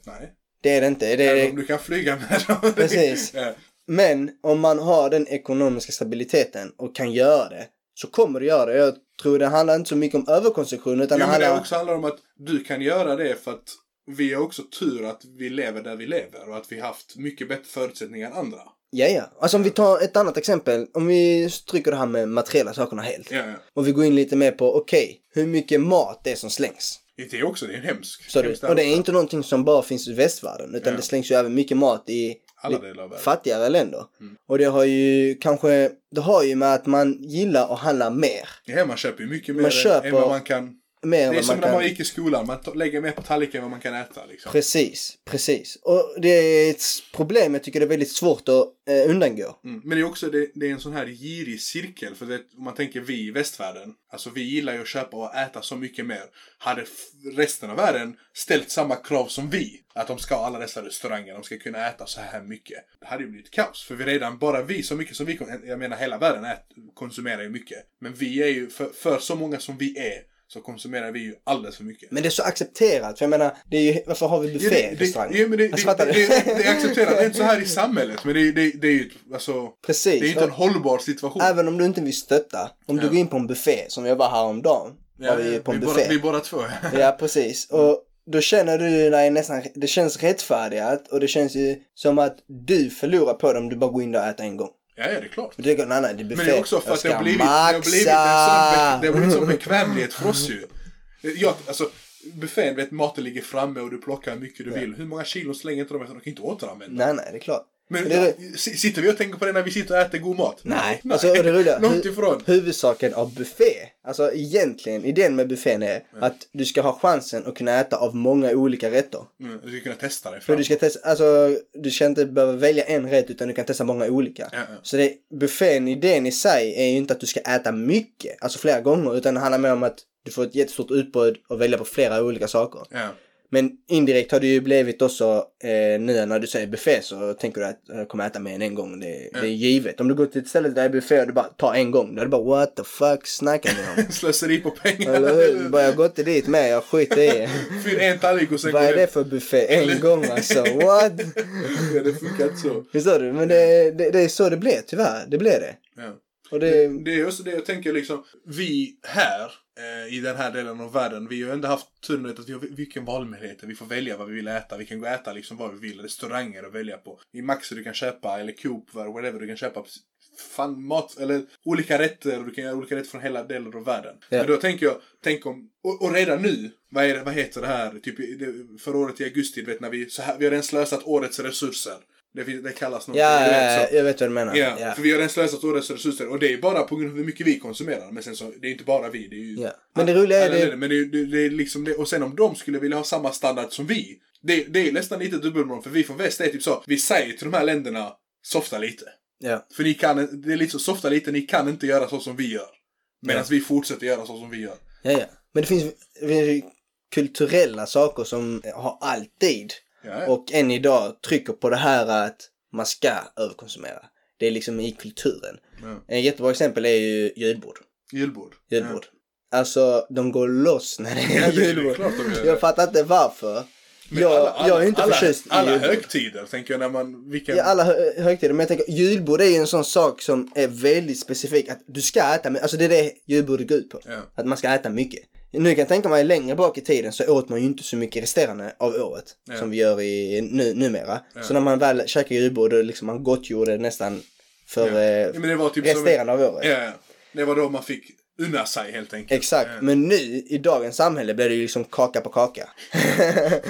Nej. Det är det inte. Det Även är, om du kan flyga med dem. Precis. Ja. men om man har den ekonomiska stabiliteten och kan göra det, så kommer du göra det. Jag tror det handlar inte så mycket om överkonsumtion, utan det Ja, men handlar... det också handlar om att du kan göra det för att vi har också tur att vi lever där vi lever och att vi haft mycket bättre förutsättningar än andra. Ja, ja. Alltså om vi tar ett annat exempel. Om vi stryker det här med materiella sakerna helt. Ja, ja. Och vi går in lite mer på, okej, hur mycket mat det är som slängs. Det är också, det är en hemsk. Så hemskt det, och det är arbete. inte någonting som bara finns i västvärlden utan Ja. det slängs ju även mycket mat i Alla Mm. li- delar av världen. fattigare länder. Och det har ju kanske, det har ju med att man gillar att handla mer. Ja, man köper ju mycket mer Man än- köper- än vad man kan. Mer än Det är vad som man när kan. man gick i skolan, man to- lägger mer på tallriken än vad man kan äta. Liksom. Precis, precis. Och det är ett problem jag tycker det är väldigt svårt att eh, undangå. Mm. Men det är också det, det är en sån här girig cirkel. För det, om man tänker vi i västvärlden. Alltså vi gillar ju att köpa och äta så mycket mer. Hade f- resten av världen ställt samma krav som vi. Att de ska ha alla dessa restauranger. De ska kunna äta så här mycket. Det hade ju blivit kaos. För vi redan, bara vi så mycket som vi kon- Jag menar hela världen ät, konsumerar ju mycket. Men vi är ju, för, för så många som vi är. Så konsumerar vi ju alldeles för mycket. Men det är så accepterat, för jag menar, det är ju, varför har vi Ja, det, buffé i det, restauranger? ja, men det, Alltså, det, fattar det, du? det, det är accepterat. Det är inte så här i samhället. Men det, det, det är ju ett- alltså, det Precis. är ju inte en och- hållbar situation. Även om du inte vill stötta, om du Ja. går in på en buffé, som jag var häromdagen, var vi på en vi, buffé. båda, vi Mm. båda två. Ja, precis. Och då känner du dig nästan, det känns rättfärdigat och det känns ju som att du förlorar på det om du bara går in där och äter en gång. ja, ja, det är klart. Du tycker, nej nej, det är buffé. Men det är också för Jag att det ska har blivit, det har blivit, en maxa! Mm. sån, be- det har blivit en sån bekvämlighet för oss ju. Jag, alltså, buffén, vet, maten ligger framme och du plockar hur mycket du vill. Hur många kilo slänger inte de efter? De kan inte återanvända. Nej, nej, det är klart. Men det är- s- sitter vi och tänker på det när vi sitter och äter god mat? Nej, alltså och det roliga, Långt hu- ifrån. huvudsaken av buffé, alltså egentligen idén med buffén är att du ska ha chansen att kunna äta av många olika rätter. Mm, du ska kunna testa dig För fram. du ska testa, alltså du ska inte behöva välja en rätt utan du kan testa många olika. Ja, ja. Så det, buffén, idén i sig är ju inte att du ska äta mycket, alltså flera gånger, utan det handlar mer om att du får ett jättestort utbud och välja på flera olika saker. Ja. Men indirekt har det ju blivit också, eh, nu när du säger buffé så tänker du att jag kommer äta mer än en gång, det, det är givet. Om du går till ett ställe där det är buffé och du bara tar en gång, då är det bara what the fuck snackar ni om? Slöseri på pengar. Eller hur? Bara jag går inte dit med, jag skiter i. Fyll en tallrik och sen Vad går är det det. för buffé? En gång alltså, what? Ja, det funkar inte så. Förstår du? Men det, det, det är så det blir tyvärr. Det blir det. Ja. Och det, Det är också det jag tänker liksom. Vi här eh, i den här delen av världen. Vi har ju ändå haft turen att vi har vilken valmöjlighet. Vi får välja vad vi vill äta. Vi kan gå och äta liksom vad vi vill. Restauranger att välja på. I Maxi du kan köpa eller Coop whatever du kan köpa. Fan mat eller olika rätter. och Du kan göra olika rätter från hela delen av världen. Ja. Men då tänker jag. Tänk om. Och, och redan nu. Vad, är det, vad heter det här? Typ i- det- förra året i augusti. Du vet när vi. Så här, vi har redan slösat årets resurser. Det, finns- det kallas något. ja, du vet, så- ja, jag vet vad du menar. Ja, Ja. för vi har redan slösat årets resurser och det är bara på grund av hur mycket vi konsumerar. Men sen så, det är inte bara vi. Det är ju Ja. Men det roliga är alla det- länder. Men det, är- det, det är liksom det. Och sen om de skulle vilja ha samma standard som vi. Det, det är nästan lite dubbelmoral. För vi från väst är typ så. Vi säger till de här länderna, softa lite. Ja. För ni kan, det är liksom softa lite, ni kan inte göra så som vi gör. Medan Ja. vi fortsätter göra så som vi gör. Ja, ja. Men det finns, det finns ju kulturella saker som har alltid Ja, ja. och än idag trycker på det här att man ska överkonsumera. Det är liksom i kulturen. Ja. Ett jättebra exempel är ju julbord. Julbord. julbord. Alltså, de går loss när det Ja, är det är julbord. klart de gör det. Jag fattar inte varför. Men Jag, jag är inte alla, förtjust i Alla julbord. högtider, tänker jag, när man... Vilken, Ja, alla hö- högtider. Men jag tänker, julbord är ju en sån sak som är väldigt specifik. Att du ska äta, men- alltså det är det julbordet går ut på. Ja. Att man ska äta mycket. Nu kan jag tänka mig längre bak i tiden så åt man ju inte så mycket resterande av året. Ja. Som vi gör i, nu, numera. Ja. Så när man väl käkar julbord, då liksom man gottgjorde nästan för Ja. eh, Ja, men det var typ som... resterande av året. Ja, ja. det var då man fick unna sig helt enkelt. Exakt, Ja. men nu i dagens samhälle blir det ju liksom kaka på kaka.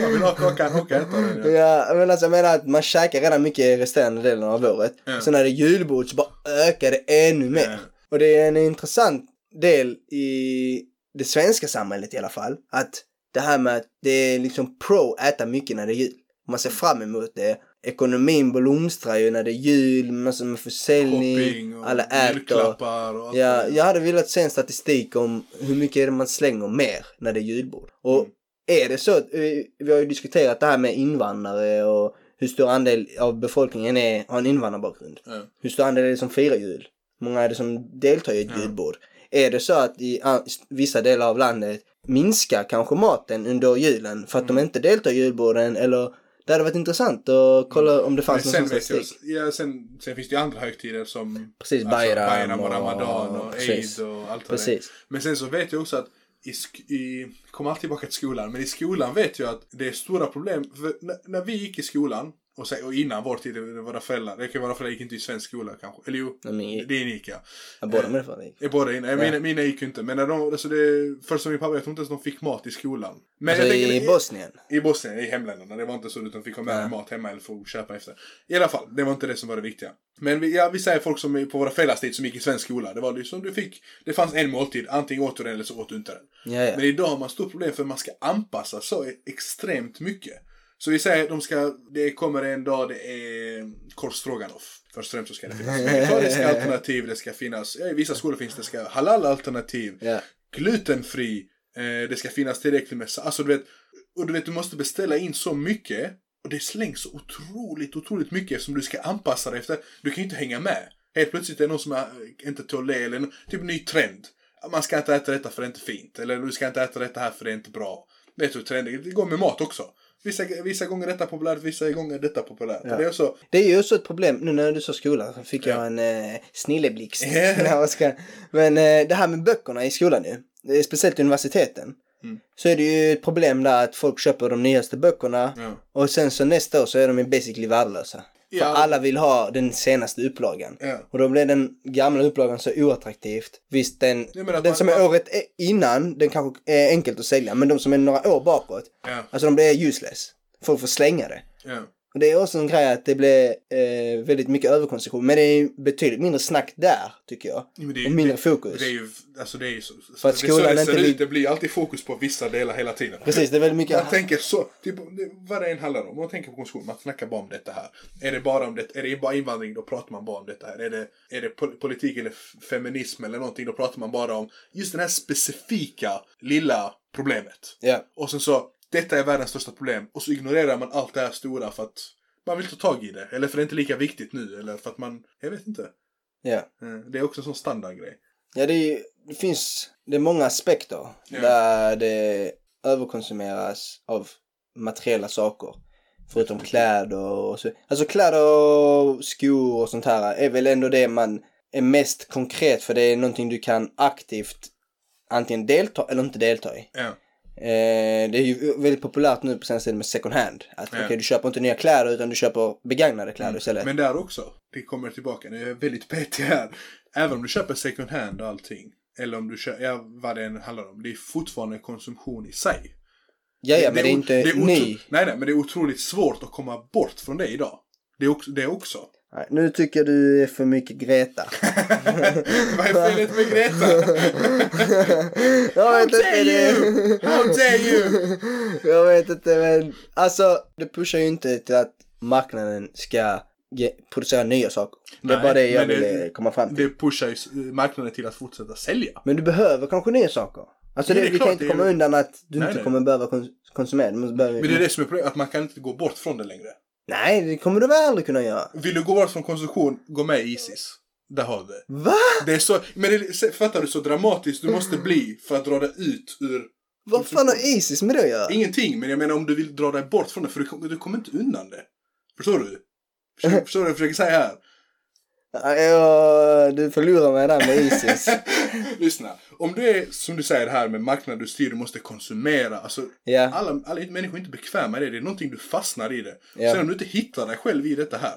Jag vill ha kakan och äta den. Ja. Ja, men alltså jag menar att man käkar redan mycket resterande delen av året. Ja. Sen när det är julbord så bara ökar det ännu mer. Ja. Och det är en intressant del i det svenska samhället i alla fall. Att det här med att det är liksom pro att äta mycket när det är jul. Man Mm. ser fram emot det. Ekonomin blomstrar ju när det är jul, massor med försäljning, Shopping och alla äter. julklappar och allt Ja, det där. jag hade velat se en statistik om hur mycket är det man slänger mer när det är julbord. Och Mm. är det så, att, eh, vi har ju diskuterat det här med invandrare och hur stor andel av befolkningen är, har en invandrarbakgrund. Ja. Hur stor andel är det som firar jul? Hur många är det som deltar i ett Ja. julbord? Är det så att i a- vissa delar av landet minskar kanske maten under julen för att Mm. de inte deltar i julborden eller det hade varit intressant att Mm. kolla om det Men fanns någon sen, sån vet jag, statistik. ja, sen, sen finns det ju andra högtider som Precis, Bayram Alltså, och och- Ramadan och precis. Eid och allt vad det är. Precis. Men sen så vet jag också att i, sk- i kom alltid tillbaka till skolan, men i skolan vet jag att det är stora problem. För när, när vi gick i skolan, och, sen, och innan vår tid, det- det- våra föräldrar, det kan vara föräldrar gick inte i svensk skola kanske. Eller jo, Nej, men gick- det är ni ja. Ja, båda mina föräldrar gick. I båda inne. Mina, Ja. mina gick ju inte. Men när de, alltså det, först som min pappa, jag tror inte ens de fick mat i skolan. Men Alltså jag i tänker- Bosnien. I Bosnien, i hemländerna. Det var inte så utan fick ha med Nej. mat hemma eller få köpa efter. I alla fall, det var inte det som var det viktiga. Men vi, ja, vi säger folk som är på våra föräldrars tid som gick i svensk skola. Det var liksom du fick, det fanns en måltid. Antingen åt du den eller så åt du inte den. Ja, ja. Men idag har man stort problem för man ska anpassa så extremt mycket. Så vi säger de ska, det kommer en dag, det är korvstroganoff. Först och främst så ska det finnas vegetariska alternativ, det ska finnas, ja, i vissa skolor finns det ska halal-alternativ, Ja. glutenfri, eh, det ska finnas tillräckligt med, sa- alltså du vet, och du vet du måste beställa in så mycket och det slängs så otroligt, otroligt mycket eftersom du ska anpassa dig efter, du kan ju inte hänga med. Helt plötsligt är det någon som är, eh, inte tål det eller nå- typ ny trend. Man ska inte äta detta för det är inte fint. Eller du ska inte äta detta här för det är inte bra. Vet du hur trender, det går med mat också. Vissa, vissa gånger är detta populärt, vissa gånger är detta populärt. Ja. Det är också, Det är ju också ett problem, nu när du sa skola så fick Ja. jag en eh, snilleblixt. Ja. när jag ska- Men eh, det här med böckerna i skolan nu, det är speciellt universiteten, Mm. så är det ju ett problem där att folk köper de nyaste böckerna ja. och sen så nästa år så är de ju basically värdelösa. Ja. För alla vill ha den senaste upplagan. Ja. Och då blir den gamla upplagan så oattraktivt. Visst, den, Jag menar att den man- som är man- året e- innan, den kanske är enkelt att sälja, men de som är några år bakåt, Ja. alltså de blir useless. Folk får slänga det. Ja. Och det är också en grej att det blir eh, väldigt mycket överkonsumtion. Men det är ju betydligt mindre snack där, tycker jag. Men det är ju- och mindre fokus. Det är ju, alltså det är ju så, För att det, är så skolan det, ser inte ut. lig- det blir alltid fokus på vissa delar hela tiden. Precis, det är väldigt mycket... Man tänker så, typ, det- vad det än handlar om. Man tänker på konsumtion, man snackar bara om detta här. Är det bara om det, är det bara invandring, då pratar man bara om detta här. Är det, är det pol- politik eller f- feminism eller någonting, då pratar man bara om just det här specifika lilla problemet. Ja, Och sen så, detta är världens största problem. Och så ignorerar man allt det här stora för att man vill ta tag i det. Eller för det är inte lika viktigt nu, eller för att man, jag vet inte. ja. Eh, Det är också en sån standardgrej. Ja, det, är, ju- det finns... Det är många aspekter Ja. där det överkonsumeras av materiella saker. Förutom kläder och så. Alltså kläder och skor och sånt här är väl ändå det man är mest konkret för det är någonting du kan aktivt antingen delta eller inte delta i. Ja. Eh, det är ju väldigt populärt nu på senaste tiden med second hand. Att Ja. Mm. okej, du köper inte nya kläder utan du köper begagnade kläder istället. Men där också, det kommer tillbaka, nu är jag väldigt petig här. Även om du köper second hand och allting, eller om du köper, ja, vad det än handlar om, det är fortfarande konsumtion i sig. ja, ja, men det, är o- inte det är otro- ny. Nej, nej, men det är otroligt svårt att komma bort från det idag. Det är också. Det är också. Nej, nu tycker jag du är för mycket Greta. vad är felet med Greta? jag vet How inte. dare Det... you! How dare you! jag vet inte men. Alltså det pushar ju inte till att marknaden ska ge, producera nya saker. det är Nej, bara det jag men vill det- eh, komma fram till. Det pushar ju s- marknaden till att fortsätta sälja. Men du behöver kanske nya saker. Alltså Men det, det är vi klart, kan inte det är komma ju- undan att du Nej, inte nej. kommer behöva kon- konsumera. Du måste behöva... Men det är det som är problemet, att man kan inte gå bort från det längre. Nej, det kommer du väl aldrig kunna göra. Vill du gå bort från konsumtion, gå med i Isis. Där har du det. Va? Det är så, men det, se- fattar du så dramatiskt du måste bli för att dra dig ut ur Vad fan har Isis med det att göra? ingenting. Men jag menar om du vill dra dig bort från det, för du, kom- du kommer inte undan det. Förstår du? Förstår, förstår du vad jag försöker säga här? Ja, du förlorar mig där med Isis. Lyssna. Om du är, som du säger det här med marknad du styr, du måste konsumera. Alltså, ja. alla, alla människor är inte bekväma i det. Det är någonting du fastnar i det. Ja. Sen om du inte hittar dig själv i detta här.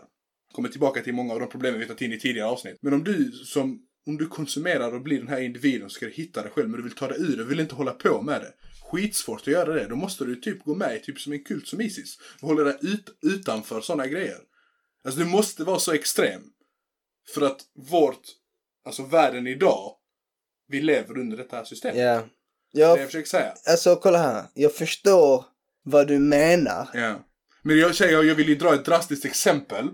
Kommer tillbaka till många av de problemen vi tagit in i tidigare avsnitt. Men om du som om du konsumerar och blir den här individen så ska du hitta dig själv men du vill ta dig ur det, vill inte hålla på med det. Skitsvårt att göra det. Då måste du typ gå med i typ som en kult som Isis. Du håller dig ut, utanför sådana grejer. Alltså du måste vara så extrem. För att vårt, alltså världen idag, vi lever under detta här systemet. Ja. Det är Jag, det jag försöker säga. alltså kolla här. Jag förstår vad du menar. Ja. Men jag säger, jag vill ju dra ett drastiskt exempel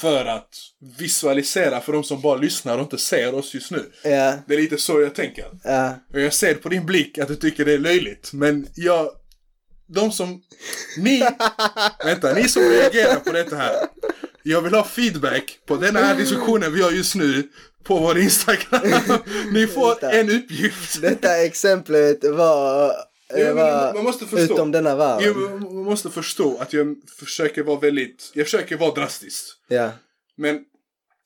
för att visualisera för de som bara lyssnar och inte ser oss just nu. Ja. Det är lite så jag tänker. Ja. Och jag ser på din blick att du tycker det är löjligt, men jag... De som... Ni... Vänta, ni som reagerar på detta här. Jag vill ha feedback på den här diskussionen vi har just nu på vår Instagram. Ni får en uppgift. Detta exemplet var... Jo, Det men var man måste förstå. Utom denna Jo, värld. men man måste förstå att jag försöker vara väldigt... Jag försöker vara drastisk. Ja. Men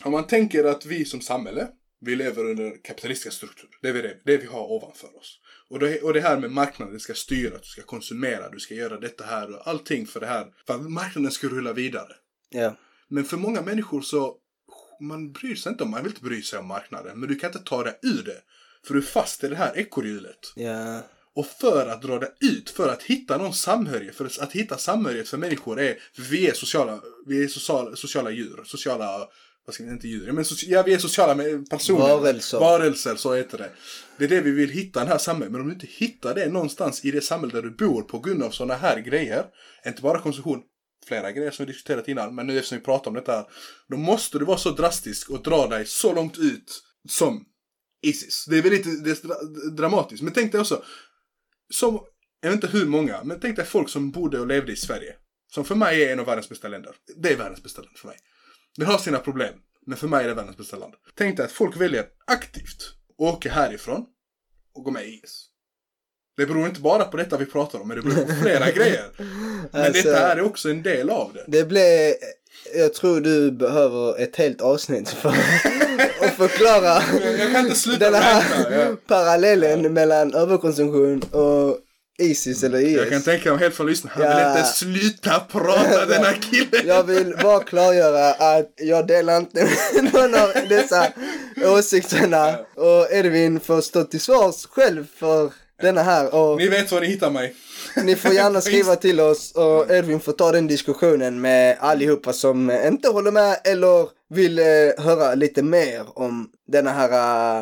om man tänker att vi som samhälle, vi lever under kapitalistiska strukturer. Det är det, det vi har ovanför oss. Och det, och det här med marknaden, det ska styra, du ska konsumera, du ska göra detta här och allting för det här. För att marknaden ska rulla vidare. Ja. Men för många människor så, man bryr sig inte om, man vill inte bry sig om marknaden. Men du kan inte ta dig ur det. För du är fast i det här ekorrhjulet. Ja. Och för att dra det ut, för att hitta någon samhörighet, för att hitta samhörighet för människor är, för vi är sociala, vi är sociala, sociala djur, sociala, vad ska vi, inte djur, men soci, ja, vi är sociala med- personer. Varelser. Varelser, så heter det. Det är det vi vill hitta i den här samhället, men om du inte hittar det någonstans i det samhälle där du bor på grund av sådana här grejer, inte bara konsumtion, flera grejer som vi diskuterat innan, men nu eftersom vi pratar om detta här, då måste du vara så drastisk och dra dig så långt ut som Isis. Det är väldigt det är dra- dramatiskt, men tänk dig också, som, jag vet inte hur många, men tänk dig folk som bodde och levde i Sverige. Som för mig är en av världens bästa länder. Det är världens bästa land för mig. Det har sina problem, men för mig är det världens bästa land. Tänk dig att folk väljer aktivt att åka härifrån och gå med i IS. Det beror inte bara på detta vi pratar om, men det beror på flera grejer. Men Alltså- detta här är också en del av det. Det blev... Jag tror du behöver ett helt avsnitt för att förklara Jag kan inte sluta den här räkna. Jag, parallellen mellan överkonsumtion och Isis eller IS. jag kan tänka mig helt för lyssnarna, han vill Ja. inte sluta prata den här killen. Jag vill bara klargöra att jag delar inte någon av dessa åsikterna. Och Edvin får stå till svars själv för denna här. Och Ni vet var ni hittar mig. ni får gärna skriva till oss och Edvin får ta den diskussionen med allihopa som inte håller med eller vill eh, höra lite mer om denna här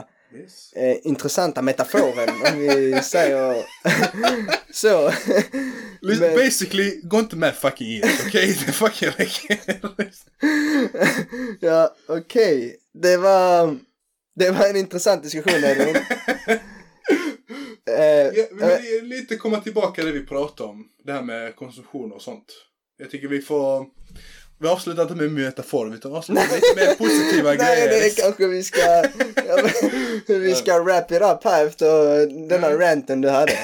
eh, intressanta metaforen om vi säger så. Lys- Men- Basically, gå inte med fucking IS, okej? Det fucking räcker. Ja, okej. Det var... Det var en intressant diskussion, Edvin. eh, ja, men eh, det är lite komma tillbaka till det vi pratade om. Det här med konsumtion och sånt. Jag tycker vi får... Vi avslutar inte med metafor, utan avslutar lite mer positiva Nej, grejer. det är kanske vi ska... ja, men hur vi ska wrap it up här efter denna Mm. ranten du hade.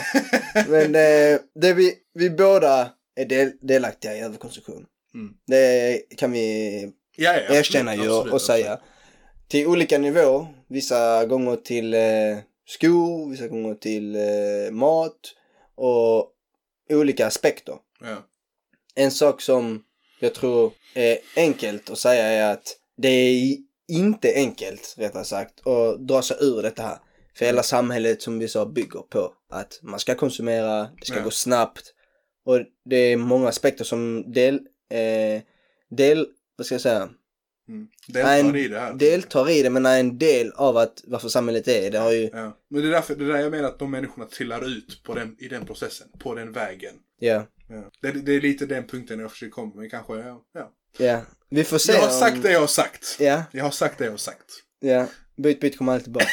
Men eh, det vi, vi båda är del, delaktiga i överkonsumtion. Mm. Det kan vi ja, ja, absolut, erkänna ju och absolut, säga. till olika nivåer. Vissa gånger till eh, skor, vissa gånger till eh, mat och olika aspekter. Ja. En sak som jag tror är enkelt att säga är att det är inte enkelt, rättare sagt, att dra sig ur detta här. För hela samhället som vi sa bygger på att man ska konsumera, det ska Ja. gå snabbt och det är många aspekter som del, eh, del, vad ska jag säga, Mm. Deltar Nej, i det här. deltar i det men är en del av att varför samhället är. Det har ju, Ja. Men det är därför det är där jag menar att de människorna trillar ut på den, i den processen, på den vägen. ja, Ja. Det, det är lite den punkten jag försöker komma med kanske. Ja. Ja. ja. Vi får se Jag har om- sagt det jag har sagt. Ja, Jag har sagt det jag har sagt. ja. Byt, byt kommer alltid tillbaks.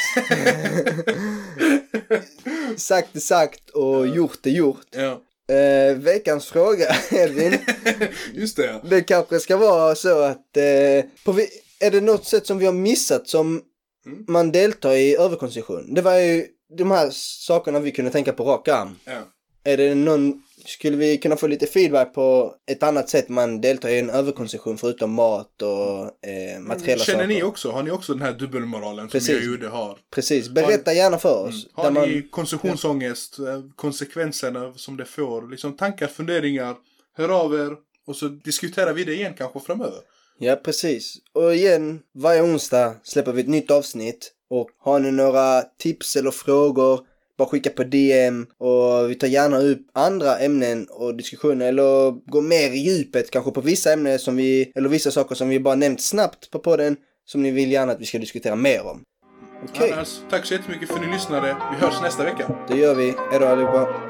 sagt är sagt och gjort är gjort. ja. Eh, veckans fråga, Edvin. Just det ja. Det kanske ska vara så att... Eh, på vi, är det något sätt som vi har missat som Mm. man deltar i överkonsumtion? Det var ju de här sakerna vi kunde tänka på rak arm. ja. Är det någon... Skulle vi kunna få lite feedback på ett annat sätt man deltar i en överkonsumtion förutom mat och eh, materiella Känner saker? ni också, har ni också den här dubbelmoralen Precis. som jag gjorde har? Precis, berätta gärna för oss. Mm. Har där ni konsumtionsångest, eh, konsekvenserna som det får, liksom tankar, funderingar, hör av er och så diskuterar vi det igen kanske framöver. Ja, precis. Och igen, varje onsdag släpper vi ett nytt avsnitt. Och har ni några tips eller frågor, bara skicka på DM. Och vi tar gärna upp andra ämnen och diskussioner. Eller gå mer i djupet kanske på vissa ämnen som vi, eller vissa saker som vi bara nämnt snabbt på podden. Som ni vill gärna att vi ska diskutera mer om. Okej, Annars, tack så jättemycket för att ni lyssnade. Vi hörs nästa vecka. det gör vi. Hejdå allihopa.